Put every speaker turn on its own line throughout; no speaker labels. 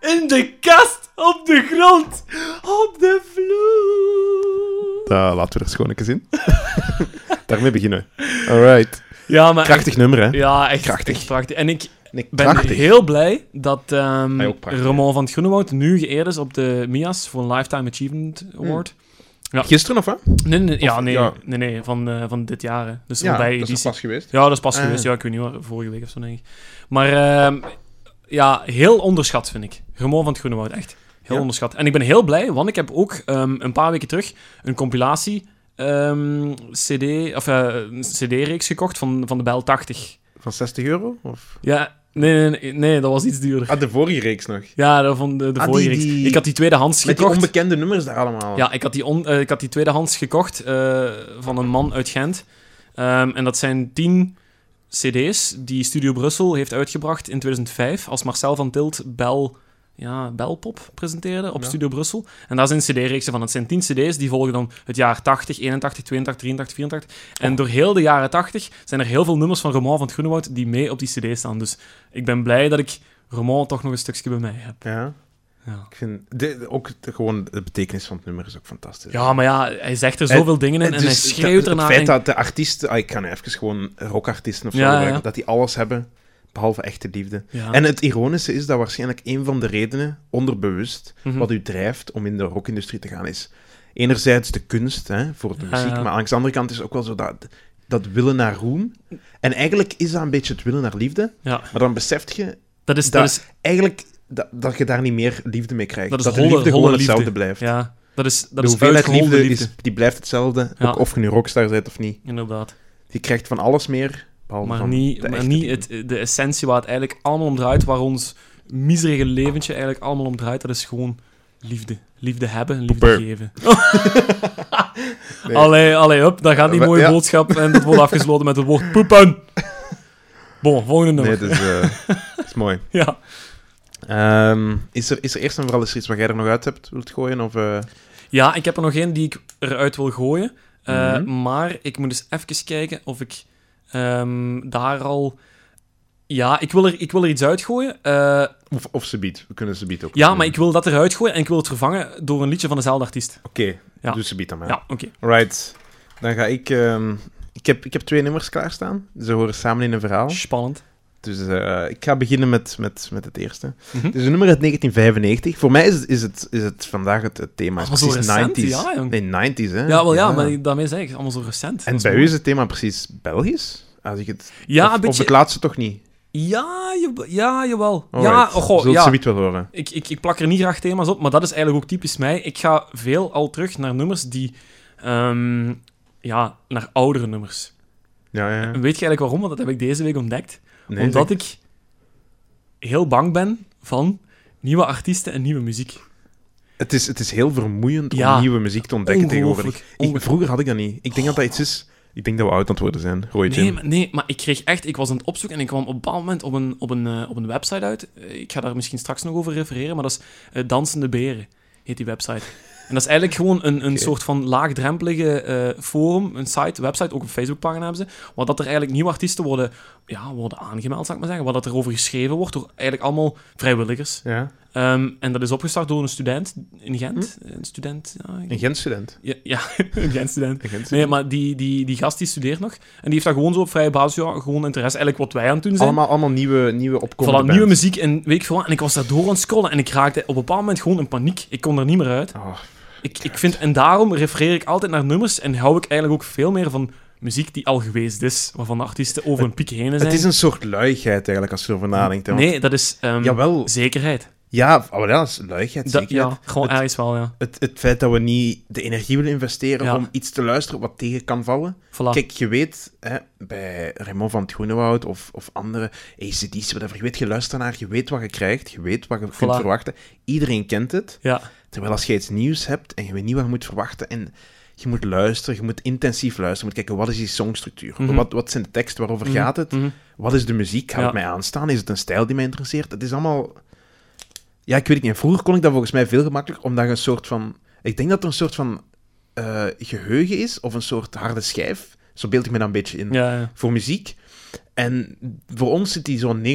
In de kast, op de grond, op de vloer.
Dat Eh, laten we er schoon eens in. Daarmee beginnen. Alright.
Ja, maar...
Krachtig nummer, hè?
Ja, echt
Krachtig.
echt prachtig. En ik
Nee,
ben
krachtig.
heel blij dat ehm
Hij ook prachtig,
Ramon van het Groenewoud nu geëerd is op de MIA's voor een Lifetime Achievement Award.
Gisteren of wat?
Nee, nee, ja,
Of-
nee,
ja.
nee, nee van, eh, van dit jaar. hè. Dus
Ja,
bij
dat
editie.
is pas geweest.
Ja, dat is pas
Ah.
geweest. Ja, ik weet niet waar, vorige week of zo, denk ik. Maar ehm, ja, heel onderschat, vind ik. Ramon van het Groenewoud, echt. Heel
Ja.
onderschat. En ik ben heel blij, want ik heb ook ehm, een paar weken terug een compilatie ehm, CD, of, eh, een CD-reeks gekocht van, van de Bijl 80.
Van 60 euro? Of...
Ja, nee, nee, nee, nee, dat was iets duurder.
Ah, de vorige reeks nog.
Ja, dat van de, de
Ah, die-
vorige reeks.
die-
Ik had die tweedehands
Met die
gekocht.
onbekende nummers daar allemaal.
Ja, ik had die, on, eh, ik had die tweedehands gekocht eh, van een man uit Gent. Ehm, en dat zijn tien cd's die Studio Brussel heeft uitgebracht in 2005. Als Marcel van Tilt Bel, ja, Belpop presenteerde op
Ja.
Studio Brussel. En daar zijn cd-reeksen van. Het zijn tien cd's, die volgen dan het jaar 80, 81, 82, 83, 84. En door heel de jaren 80 zijn er heel veel nummers van Roman van het Groenewoud die mee op die cd staan. Dus ik ben blij dat ik Roman toch nog een stukje bij mij heb.
Ja.
Ja.
Ik vind de- de- ook de, gewoon de betekenis van het nummer is ook fantastisch.
Ja, maar ja, hij zegt er zoveel dingen in en
Dus
hij schreeuwt
het-
ernaar.
Het
en-
feit dat de artiesten, ah, ik kan even gewoon rockartiesten of zo
Ja, ja.
gebruiken, dat die alles hebben, behalve echte liefde.
Ja.
En het ironische is dat waarschijnlijk een van de redenen, onderbewust,
Mhm.
wat u drijft om in de rockindustrie te gaan, is enerzijds de kunst hè, voor de
Ja,
muziek,
ja.
maar aan de andere kant is ook wel zo dat, dat willen naar roem. En eigenlijk is dat een beetje het willen naar liefde,
Ja.
maar dan besef je
dat is,
dat,
Dus dat is,
eigenlijk dat, dat je daar niet meer liefde mee krijgt.
Dat is
Dat, de
holle-
liefde
holle
gewoon
liefde.
hetzelfde blijft.
ja, dat is, dat
de
is
hoeveelheid
uitgeholde
liefde,
liefde.
Is, die blijft hetzelfde,
Ja.
ook of je nu rockstar bent of niet.
Inderdaad.
Je krijgt van alles meer, behalve
Maar
van
niet,
de
maar
echte
niet
liefde.
het, de essentie waar het eigenlijk allemaal om draait, waar ons miserige leventje eigenlijk allemaal om draait, dat is gewoon liefde. Liefde hebben en liefde
Poeper.
geven. Allee, allee, hup, daar gaat die
We-
mooie
ja.
boodschap en dat wordt afgesloten met het woord poepen. Bon, volgende nummer.
Nee, dat is, eh, dat is mooi.
Ja.
Ehm, is, er, is er eerst en vooral eens iets wat jij er nog uit hebt wilt gooien? Of, eh,
Ja, ik heb er nog één die ik eruit wil gooien. Eh,
Mhm.
Maar ik moet eens even kijken of ik ehm, daar al... Ja, ik wil er, ik wil er iets uitgooien. Eh,
of, of ze biedt. We kunnen ze biedt ook.
ja,
doen.
maar ik wil dat eruit gooien en ik wil het vervangen door een liedje van dezelfde artiest.
Oké,
Ja.
doe ze biedt dan maar.
Ja, oké.
Right. Dan ga ik... ehm, ik, heb, ik heb twee nummers klaarstaan. Ze horen samen in een verhaal.
Spannend.
Dus eh, ik ga beginnen met, met, met het eerste.
Mhm.
Het is een nummer uit 1995. Voor mij is het, is het, is het vandaag het, het thema.
Ah,
is
maar zo
precies
recent,
90s.
ja, jong.
Nee, 90s, hè?
Ja, wel ja, maar daarmee zeg ik, allemaal zo recent.
En
Dat is
bij u
mooi.
is het thema precies Belgisch? Als ik het...
Ja,
of,
een
of
beetje...
het laatste toch niet?
Ja, je, ja, jawel. Ja,
Alright.
oh, goh,
Zult
ja.
ze biedt wel horen.
Ik, ik, ik plak er niet graag thema's op, maar dat is eigenlijk ook typisch mij. Ik ga veel al terug naar nummers die... ehm, ja, naar oudere nummers.
Ja, ja.
En weet je eigenlijk waarom? Want dat heb ik deze week ontdekt.
Nee,
Omdat ik heel bang ben van nieuwe artiesten en nieuwe muziek.
Het is, het is heel vermoeiend
Ja.
om nieuwe muziek te ontdekken
Ongelooflijk.
tegenwoordig. Ik, vroeger had ik dat niet. Ik denk dat dat iets is... Ik denk dat we oud aan het worden zijn. Roy Jim.
Nee maar, nee, maar ik kreeg echt... Ik was aan het opzoeken en ik kwam op een bepaald moment op een, op een, eh, op een website uit. Eh, Ik ga daar misschien straks nog over refereren, maar dat is eh, Dansende Beren, heet die website. En dat is eigenlijk gewoon een, een
Oké.
soort van laagdrempelige eh, forum, een site, website, ook een Facebookpagina hebben ze, waar dat er eigenlijk nieuwe artiesten worden, ja, worden aangemeld, zou ik maar zeggen, waar dat er over geschreven wordt door eigenlijk allemaal vrijwilligers.
Ja.
Ehm, en dat is opgestart door een student in Gent.
Hm?
Een student, ja. ik-
Een Gent-student.
Ja, ja, een Gent-student.
Een Gent
Nee, maar die, die, die gast die studeert nog. En die heeft daar gewoon zo op vrije basis, ja, gewoon interesse. Eigenlijk wat wij aan het doen zijn.
allemaal, allemaal nieuwe, nieuwe opkomende
Voilà, nieuwe
bands.
muziek en weet ik veel wat. En ik was daar door aan het scrollen en ik raakte op een bepaald moment gewoon in paniek. Ik kon er niet meer uit.
Oh,
Ik, ik vind, en daarom refereer ik altijd naar nummers en hou ik eigenlijk ook veel meer van muziek die al geweest is, waarvan de artiesten over een piek heen zijn.
het is een soort luigheid eigenlijk, als je erover nadenkt. hè, want-
Nee, dat is ehm,
Jawel.
zekerheid.
Ja, maar dat is luigheid,
Dat,
zekerheid.
ja, gewoon
Het-
ergens wel, ja.
Het, het feit dat we niet de energie willen investeren
Ja.
om iets te luisteren wat tegen kan vallen.
Voilà.
Kijk, je weet, hè, bij Raymond van het Groenewoud of, of andere ACD's, whatever, je weet, je luistert naar, je weet wat je krijgt, je weet wat je kunt
Voilà.
verwachten. Iedereen kent het.
ja.
Terwijl als je iets nieuws hebt en je weet niet wat je moet verwachten en je moet luisteren, je moet intensief luisteren, je moet kijken, wat is die songstructuur?
Mhm.
Wat, wat zijn de teksten, waarover
Mhm,
gaat het?
mhm.
Wat is de muziek? Gaat
Ja.
het mij aanstaan? Is het een stijl die mij interesseert? Het is allemaal... Ja, ik weet het niet. Vroeger kon ik dat volgens mij veel gemakkelijker, omdat je een soort van... Ik denk dat er een soort van eh, geheugen is, of een soort harde schijf. Zo beeld ik me dat een beetje in.
Ja, ja.
Voor muziek. En voor ons zit die zo'n 90%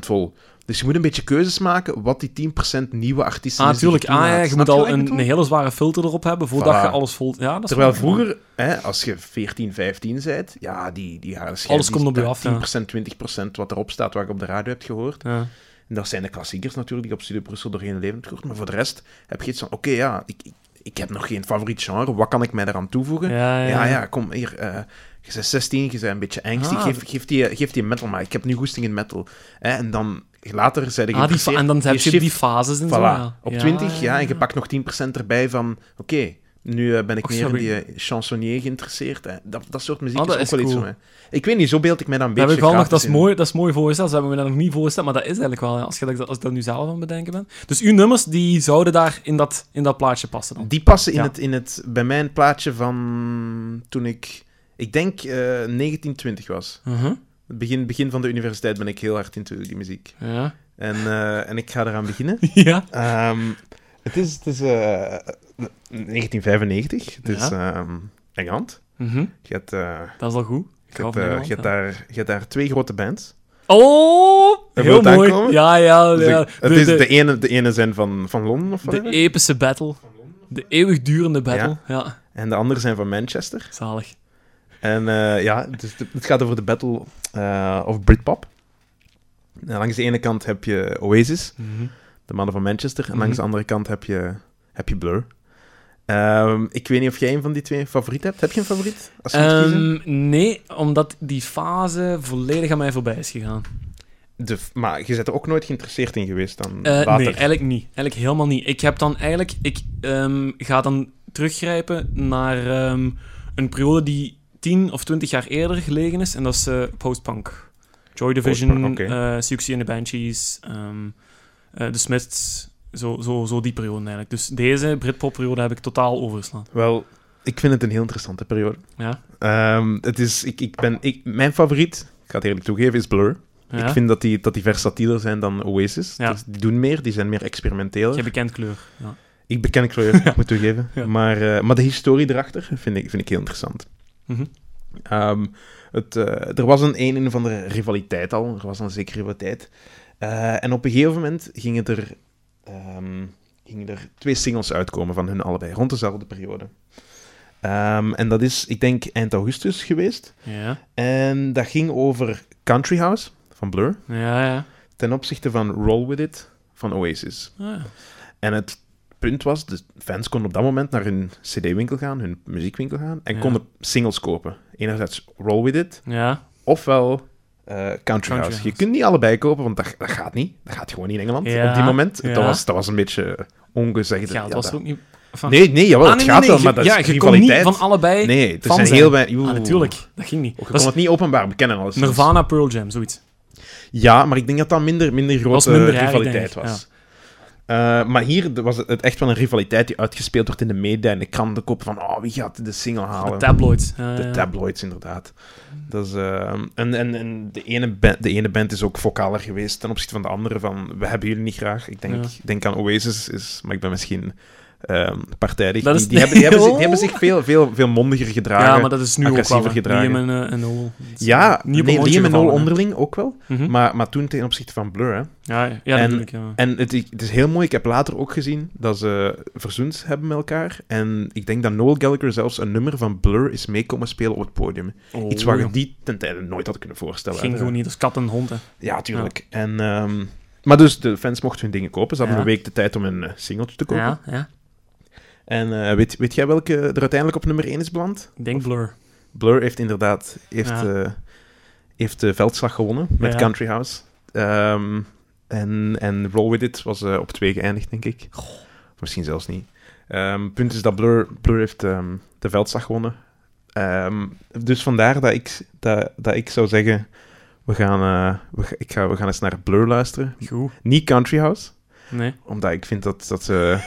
vol. Dus Dus je moet een beetje keuzes maken wat die 10% nieuwe artiesten
Ah,
is die je
tuurlijk. Ah, ja,
toelaat.
je
Snap
moet al
wat ik
een,
bedoel?
een hele zware filter erop hebben voordat
Voilà.
je alles vol... Ja, dat is
Terwijl
waar.
vroeger, hè, als je 14, 15 bent, ja, die, die harde schijf...
Alles
die
komt op je
staat
af, ja.
10%, 20% wat erop staat, wat je op de radio hebt gehoord.
Ja.
En dat zijn de klassiekers natuurlijk, die ik op Studio Brussel doorheen het leven hebt gehoord. Maar voor de rest heb je iets van, oké, ja, ik, ik, ik heb nog geen favoriet genre, wat kan ik mij daaraan toevoegen?
Ja, ja.
ja, kom, hier, eh, je bent 16, je bent een beetje angstig,
Ah,
geef, geef, die, geef die metal maar, ik heb nu goesting in metal. Hè, en dan, later zijn je
Ah, die fa- en dan heb je
shift-
die fases en zo.
Voilà.
ja.
Op 20, ja, en je pakt nog 10% erbij van... Oké, nu eh, ben ik
Och,
meer in
sorry.
die eh, chansonnier geïnteresseerd. Hè. Dat, dat soort muziek
Ah, dat
is ook
is
wel iets
cool.
voor mij. Ik weet niet, zo beeld ik mij dan een
Dat,
beetje
heb ik wel nog,
gratis
dat, is
in.
mooi, dat is mooi voorgesteld. Ze hebben me dat nog niet voorgesteld, maar dat is eigenlijk wel. ja, als, je dat, als ik dat nu zelf aan het bedenken ben. Dus uw nummers die zouden daar in dat, in dat plaatje passen dan.
Die passen in,
Ja.
het, in het, bij mijn plaatje van toen ik... Ik denk eh 1920 was.
Mhm.
Het Begin, begin van de universiteit ben ik heel hard into die muziek.
ja.
En, eh, en ik ga eraan beginnen.
ja.
Ehm, het is, het is eh, 1995. Het is ehm Engeland.
Mhm.
Je hebt... eh,
Dat is al goed. Ik
Je
hou
hebt,
van
eh,
Nederland,
je hebt
ja.
daar, je hebt daar twee grote bands.
Oh,
Wil
heel
het
mooi.
aankomen?
Ja, ja.
Dus
ja.
ik- het
de,
is
de-
de, ene, de ene zijn van, van Londen of
de e-
whatever.
epische battle. De eeuwigdurende battle. Ja.
En de andere zijn van Manchester.
zalig.
En eh, ja, dus de- het gaat over de battle eh, of Britpop. En langs de ene kant heb je Oasis,
Mhm.
de mannen van Manchester. En
Mhm.
langs de andere kant heb je, heb je Blur. Ehm, ik weet niet of jij een van die twee een favoriet hebt. Heb je een favoriet? Als je moet kiezen?
Ehm, nee, omdat die fase volledig aan mij voorbij is gegaan.
De, f- maar je bent er ook nooit geïnteresseerd in geweest dan
Eh, nee,
later.
eigenlijk niet. Eigenlijk helemaal niet. Ik heb dan eigenlijk... Ik ehm, ga dan teruggrijpen naar ehm, een periode die 10 of 20 jaar eerder gelegen is. En dat is eh, post-punk. Joy Division,
Post-punk, oké.
eh, Siouxsie and the Banshees, ehm, eh, The Smiths. Zo, zo, zo die periode eigenlijk. Dus deze Britpop-periode heb ik totaal overslaan.
Wel, ik vind het een heel interessante periode.
Ja?
Ehm, het is, ik, ik ben, ik, mijn favoriet, ik ga het eerlijk toegeven, is Blur.
ja?
Ik vind dat die, dat die versatieler zijn dan Oasis.
Ja.
Dus die doen meer, die zijn meer experimenteel.
Je hebt bekend kleur. Ja.
Ik beken kleur, ik moet toegeven.
Ja.
Maar, eh, maar de historie erachter vind ik, vind ik heel interessant.
Mhm.
Ehm, het, eh, er was een een en andere rivaliteit al, er was een zekere rivaliteit. Eh, en op een gegeven moment gingen er, ehm, gingen er twee singles uitkomen van hun allebei, rond dezelfde periode. Ehm, en dat is, ik denk, eind augustus geweest.
ja,
En dat ging over Country House van Blur
ja, ja.
ten opzichte van Roll With It van Oasis.
Ah, ja.
En het punt was, de fans konden op dat moment naar hun cd-winkel gaan, hun muziekwinkel gaan, en
Ja.
konden singles kopen. Enerzijds Roll With It,
ja.
ofwel eh, Country, House.
House.
Je kunt niet allebei kopen, want dat, dat gaat niet. Dat gaat gewoon niet in Engeland
Ja,
op die moment.
ja.
Dat, was, dat was een beetje ongezegd.
Ja, het was
dat-
ook niet... Enfin,
Nee, nee, jawel,
Ah,
het
nee,
gaat
nee,
wel,
nee,
maar dat
ja,
is
je kon niet
rivaliteit.
van allebei...
nee, er
van
zijn
zijn.
heel weinig... Oeh.
Ah, natuurlijk. Dat ging niet.
Je kon
Dat is
het niet openbaar bekennen. Als
Nirvana, Pearl Jam, zoiets.
Ja, maar ik denk dat dat minder, minder
was
grote
minder erg,
rivaliteit
denk ik,
was. Eh, maar hier was het echt wel een rivaliteit die uitgespeeld wordt in de media en de krantenkoppen van oh, wie gaat de single halen?
De tabloids. Ja,
De
ja.
tabloids, inderdaad. Dat is, eh, en en, en de, ene band, de ene band is ook vocaler geweest ten opzichte van de andere. Van, we hebben jullie niet graag. Ik denk,
Ja.
denk aan Oasis, is, maar ik ben misschien ehm, partijdig.
Dat
Die,
is-
die hebben, die hebben zich, die hebben zich veel, veel, veel mondiger gedragen.
ja, maar dat is nu ook wel.
agressiever
hè.
gedragen.
Liam en, eh, en Noel. Dat is,
ja,
eh, niet op
nee,
een rondje
Liam en Noel
gevallen, hè.
onderling ook wel.
Mhm.
Maar, maar toen ten opzichte van Blur, hè.
Ja, ja, ja, dat
En-
bedoel ik, ja.
En het, het is heel mooi. Ik heb later ook gezien dat ze verzoend hebben met elkaar. En ik denk dat Noel Gallagher zelfs een nummer van Blur is mee komen spelen op het podium.
Oh,
Iets waar
ja.
je die ten tijde nooit had kunnen voorstellen.
ging gewoon niet als kat en hond. Hè.
Ja, tuurlijk. En, ehm, maar dus de fans mochten hun dingen kopen. Ze hadden
Ja.
een week de tijd om een eh, singeltje te kopen.
Ja, ja.
En eh, weet, weet jij welke er uiteindelijk op nummer 1 is beland?
Ik denk Blur.
Blur heeft inderdaad heeft,
Ja.
eh, heeft de veldslag gewonnen met
Ja.
Country House. Ehm, en, en Roll With It was eh, op twee geëindigd, denk ik. Of misschien zelfs niet. Ehm, punt is dat Blur, Blur heeft ehm, de veldslag gewonnen. Ehm, dus vandaar dat ik, dat, dat ik zou zeggen... We gaan, eh, we, ga- ik ga, we gaan eens naar Blur luisteren.
Goed.
Niet Country House,
Nee.
omdat ik vind dat... dat ze-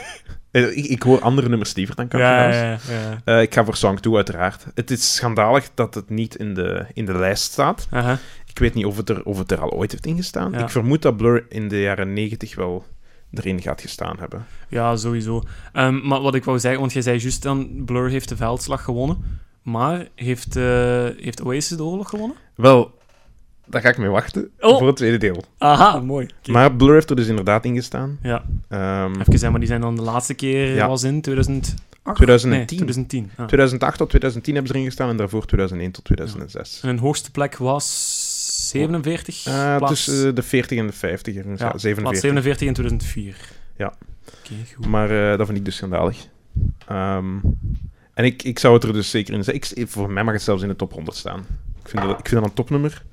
Eh, ik, ik hoor andere nummers liever dan Country
Ja,
House.
ja, ja.
Eh, ik ga voor Song 2, uiteraard. Het is schandalig dat het niet in de, in de lijst staat.
Aha.
Ik weet niet of het er, of het er al ooit heeft ingestaan.
Ja.
Ik vermoed dat Blur in de jaren 90 wel erin gaat gestaan hebben.
Ja, sowieso. Ehm, maar wat ik wou zeggen, want jij zei juist dan, Blur heeft de veldslag gewonnen. Maar heeft, eh, heeft Oasis de oorlog gewonnen?
Wel, daar ga ik mee wachten
Oh.
voor het tweede deel.
Aha, mooi. Oké.
Maar Blur heeft er dus inderdaad in gestaan.
Ja,
Ehm,
even zijn, maar die zijn dan de laatste keer
Ja.
was in 2008?
2010.
Nee, 2010. Ah.
2008 tot 2010 hebben ze erin gestaan en daarvoor 2001 tot 2006.
En hun hoogste plek was 47?
Eh,
plaats,
Tussen eh, de 40 en de 50. ergens,
ja,
Ja,
plaats
47.
47 in 2004.
Ja.
Oké, goed.
Maar eh, dat vind ik dus schandalig. Ehm, en ik, ik zou het er dus zeker in zetten. Ik- Voor mij mag het zelfs in de top 100 staan. Ik vind dat, ik vind dat een topnummer.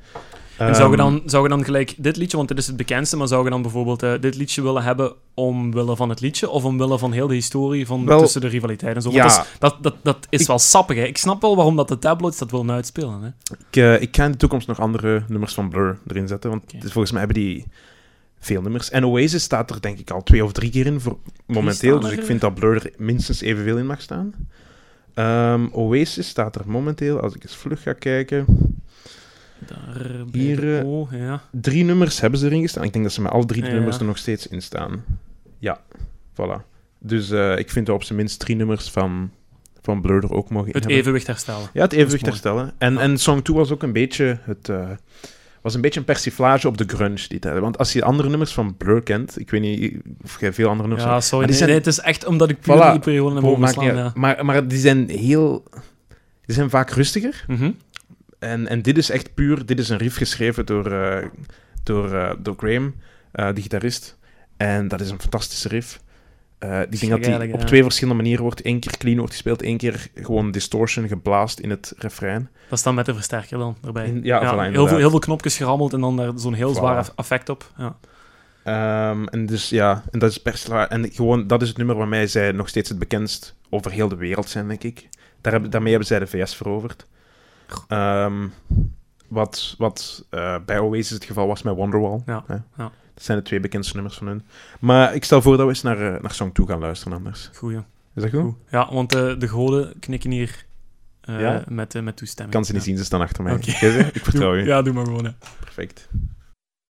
En zou je,
Ehm,
dan, zou je dan gelijk dit liedje, want dit is het bekendste, maar zou je dan bijvoorbeeld eh, dit liedje willen hebben omwille van het liedje of omwille van heel de historie van
Wel,
tussen de rivaliteit en zo?
ja.
Want dat, is, dat, dat, dat is
Ik-
wel sappig, hè? Ik snap wel waarom dat de tabloids dat willen uitspelen, hè?
Ik, eh, ik ga in de toekomst nog andere nummers van Blur erin zetten. Want
Oké.
het is- volgens mij hebben die veel nummers. En Oasis staat er denk ik al twee of drie keer in voor momenteel.
staan
Dus
er
ik
in.
vind dat Blur er minstens evenveel in mag staan. Ehm, Oasis staat er momenteel, als ik eens vlug ga kijken.
Daar bij
Hier,
de
eh,
O, ja.
Drie nummers hebben ze erin gestaan. Ik denk dat ze met alle drie de
Ja.
nummers er nog steeds in staan. Ja, voilà. Dus eh, ik vind dat op zijn minst drie nummers van, van Blur er ook mogen
Het
in hebben.
evenwicht herstellen.
Ja, het evenwicht
Dat is
herstellen. En,
Ja.
en Song 2 was ook een beetje het... eh, was een beetje een persiflage op de grunge die tijd. Want als je andere nummers van Blur kent, ik weet niet of jij veel andere nummers...
Ja, sorry.
Maar
Nee,
die zijn-
nee, het is echt omdat ik puur
Voilà.
die periode heb
Wow, maakt
overslaan,
niet
ja.
uit. maar, maar die zijn heel... Die zijn vaak rustiger.
Mhm.
En, en dit is echt puur... Dit is een riff geschreven door, eh, door, eh, door Graham, eh, de gitarist. En dat is een fantastische riff. Eh ik denk dat die
eigenlijk,
op
ja.
twee verschillende manieren wordt. Eén keer clean wordt gespeeld, één keer gewoon distortion geblaast in het refrein.
Dat is dan met de versterker dan erbij.
In- ja, voilà,
heel,
inderdaad.
veel, heel veel knopjes gerammeld en dan daar zo'n heel
Voilà.
zwaar effect op. Ja.
Ehm, en dus ja, en dat is persla. En gewoon, dat is het nummer waarmee zij nog steeds het bekendst over heel de wereld zijn, denk ik. Daar hebben, daarmee hebben zij de VS veroverd. Ehm, wat wat eh, bij Oasis het geval was met Wonderwall.
Ja,
hè.
ja.
Dat zijn de twee bekendste nummers van hun. Maar ik stel voor dat we eens naar, eh, naar Song 2 gaan luisteren anders.
Goed, ja.
Is dat goed?
Goed. Ja, want eh, de goden knikken hier eh,
Ja?
met, eh, met toestemming.
Ik kan ze niet
Ja.
zien, ze staan achter mij.
Oké.
Jij ze? Ik vertrouw
Doe-
je.
Ja, doe maar gewoon. hè.
Perfect.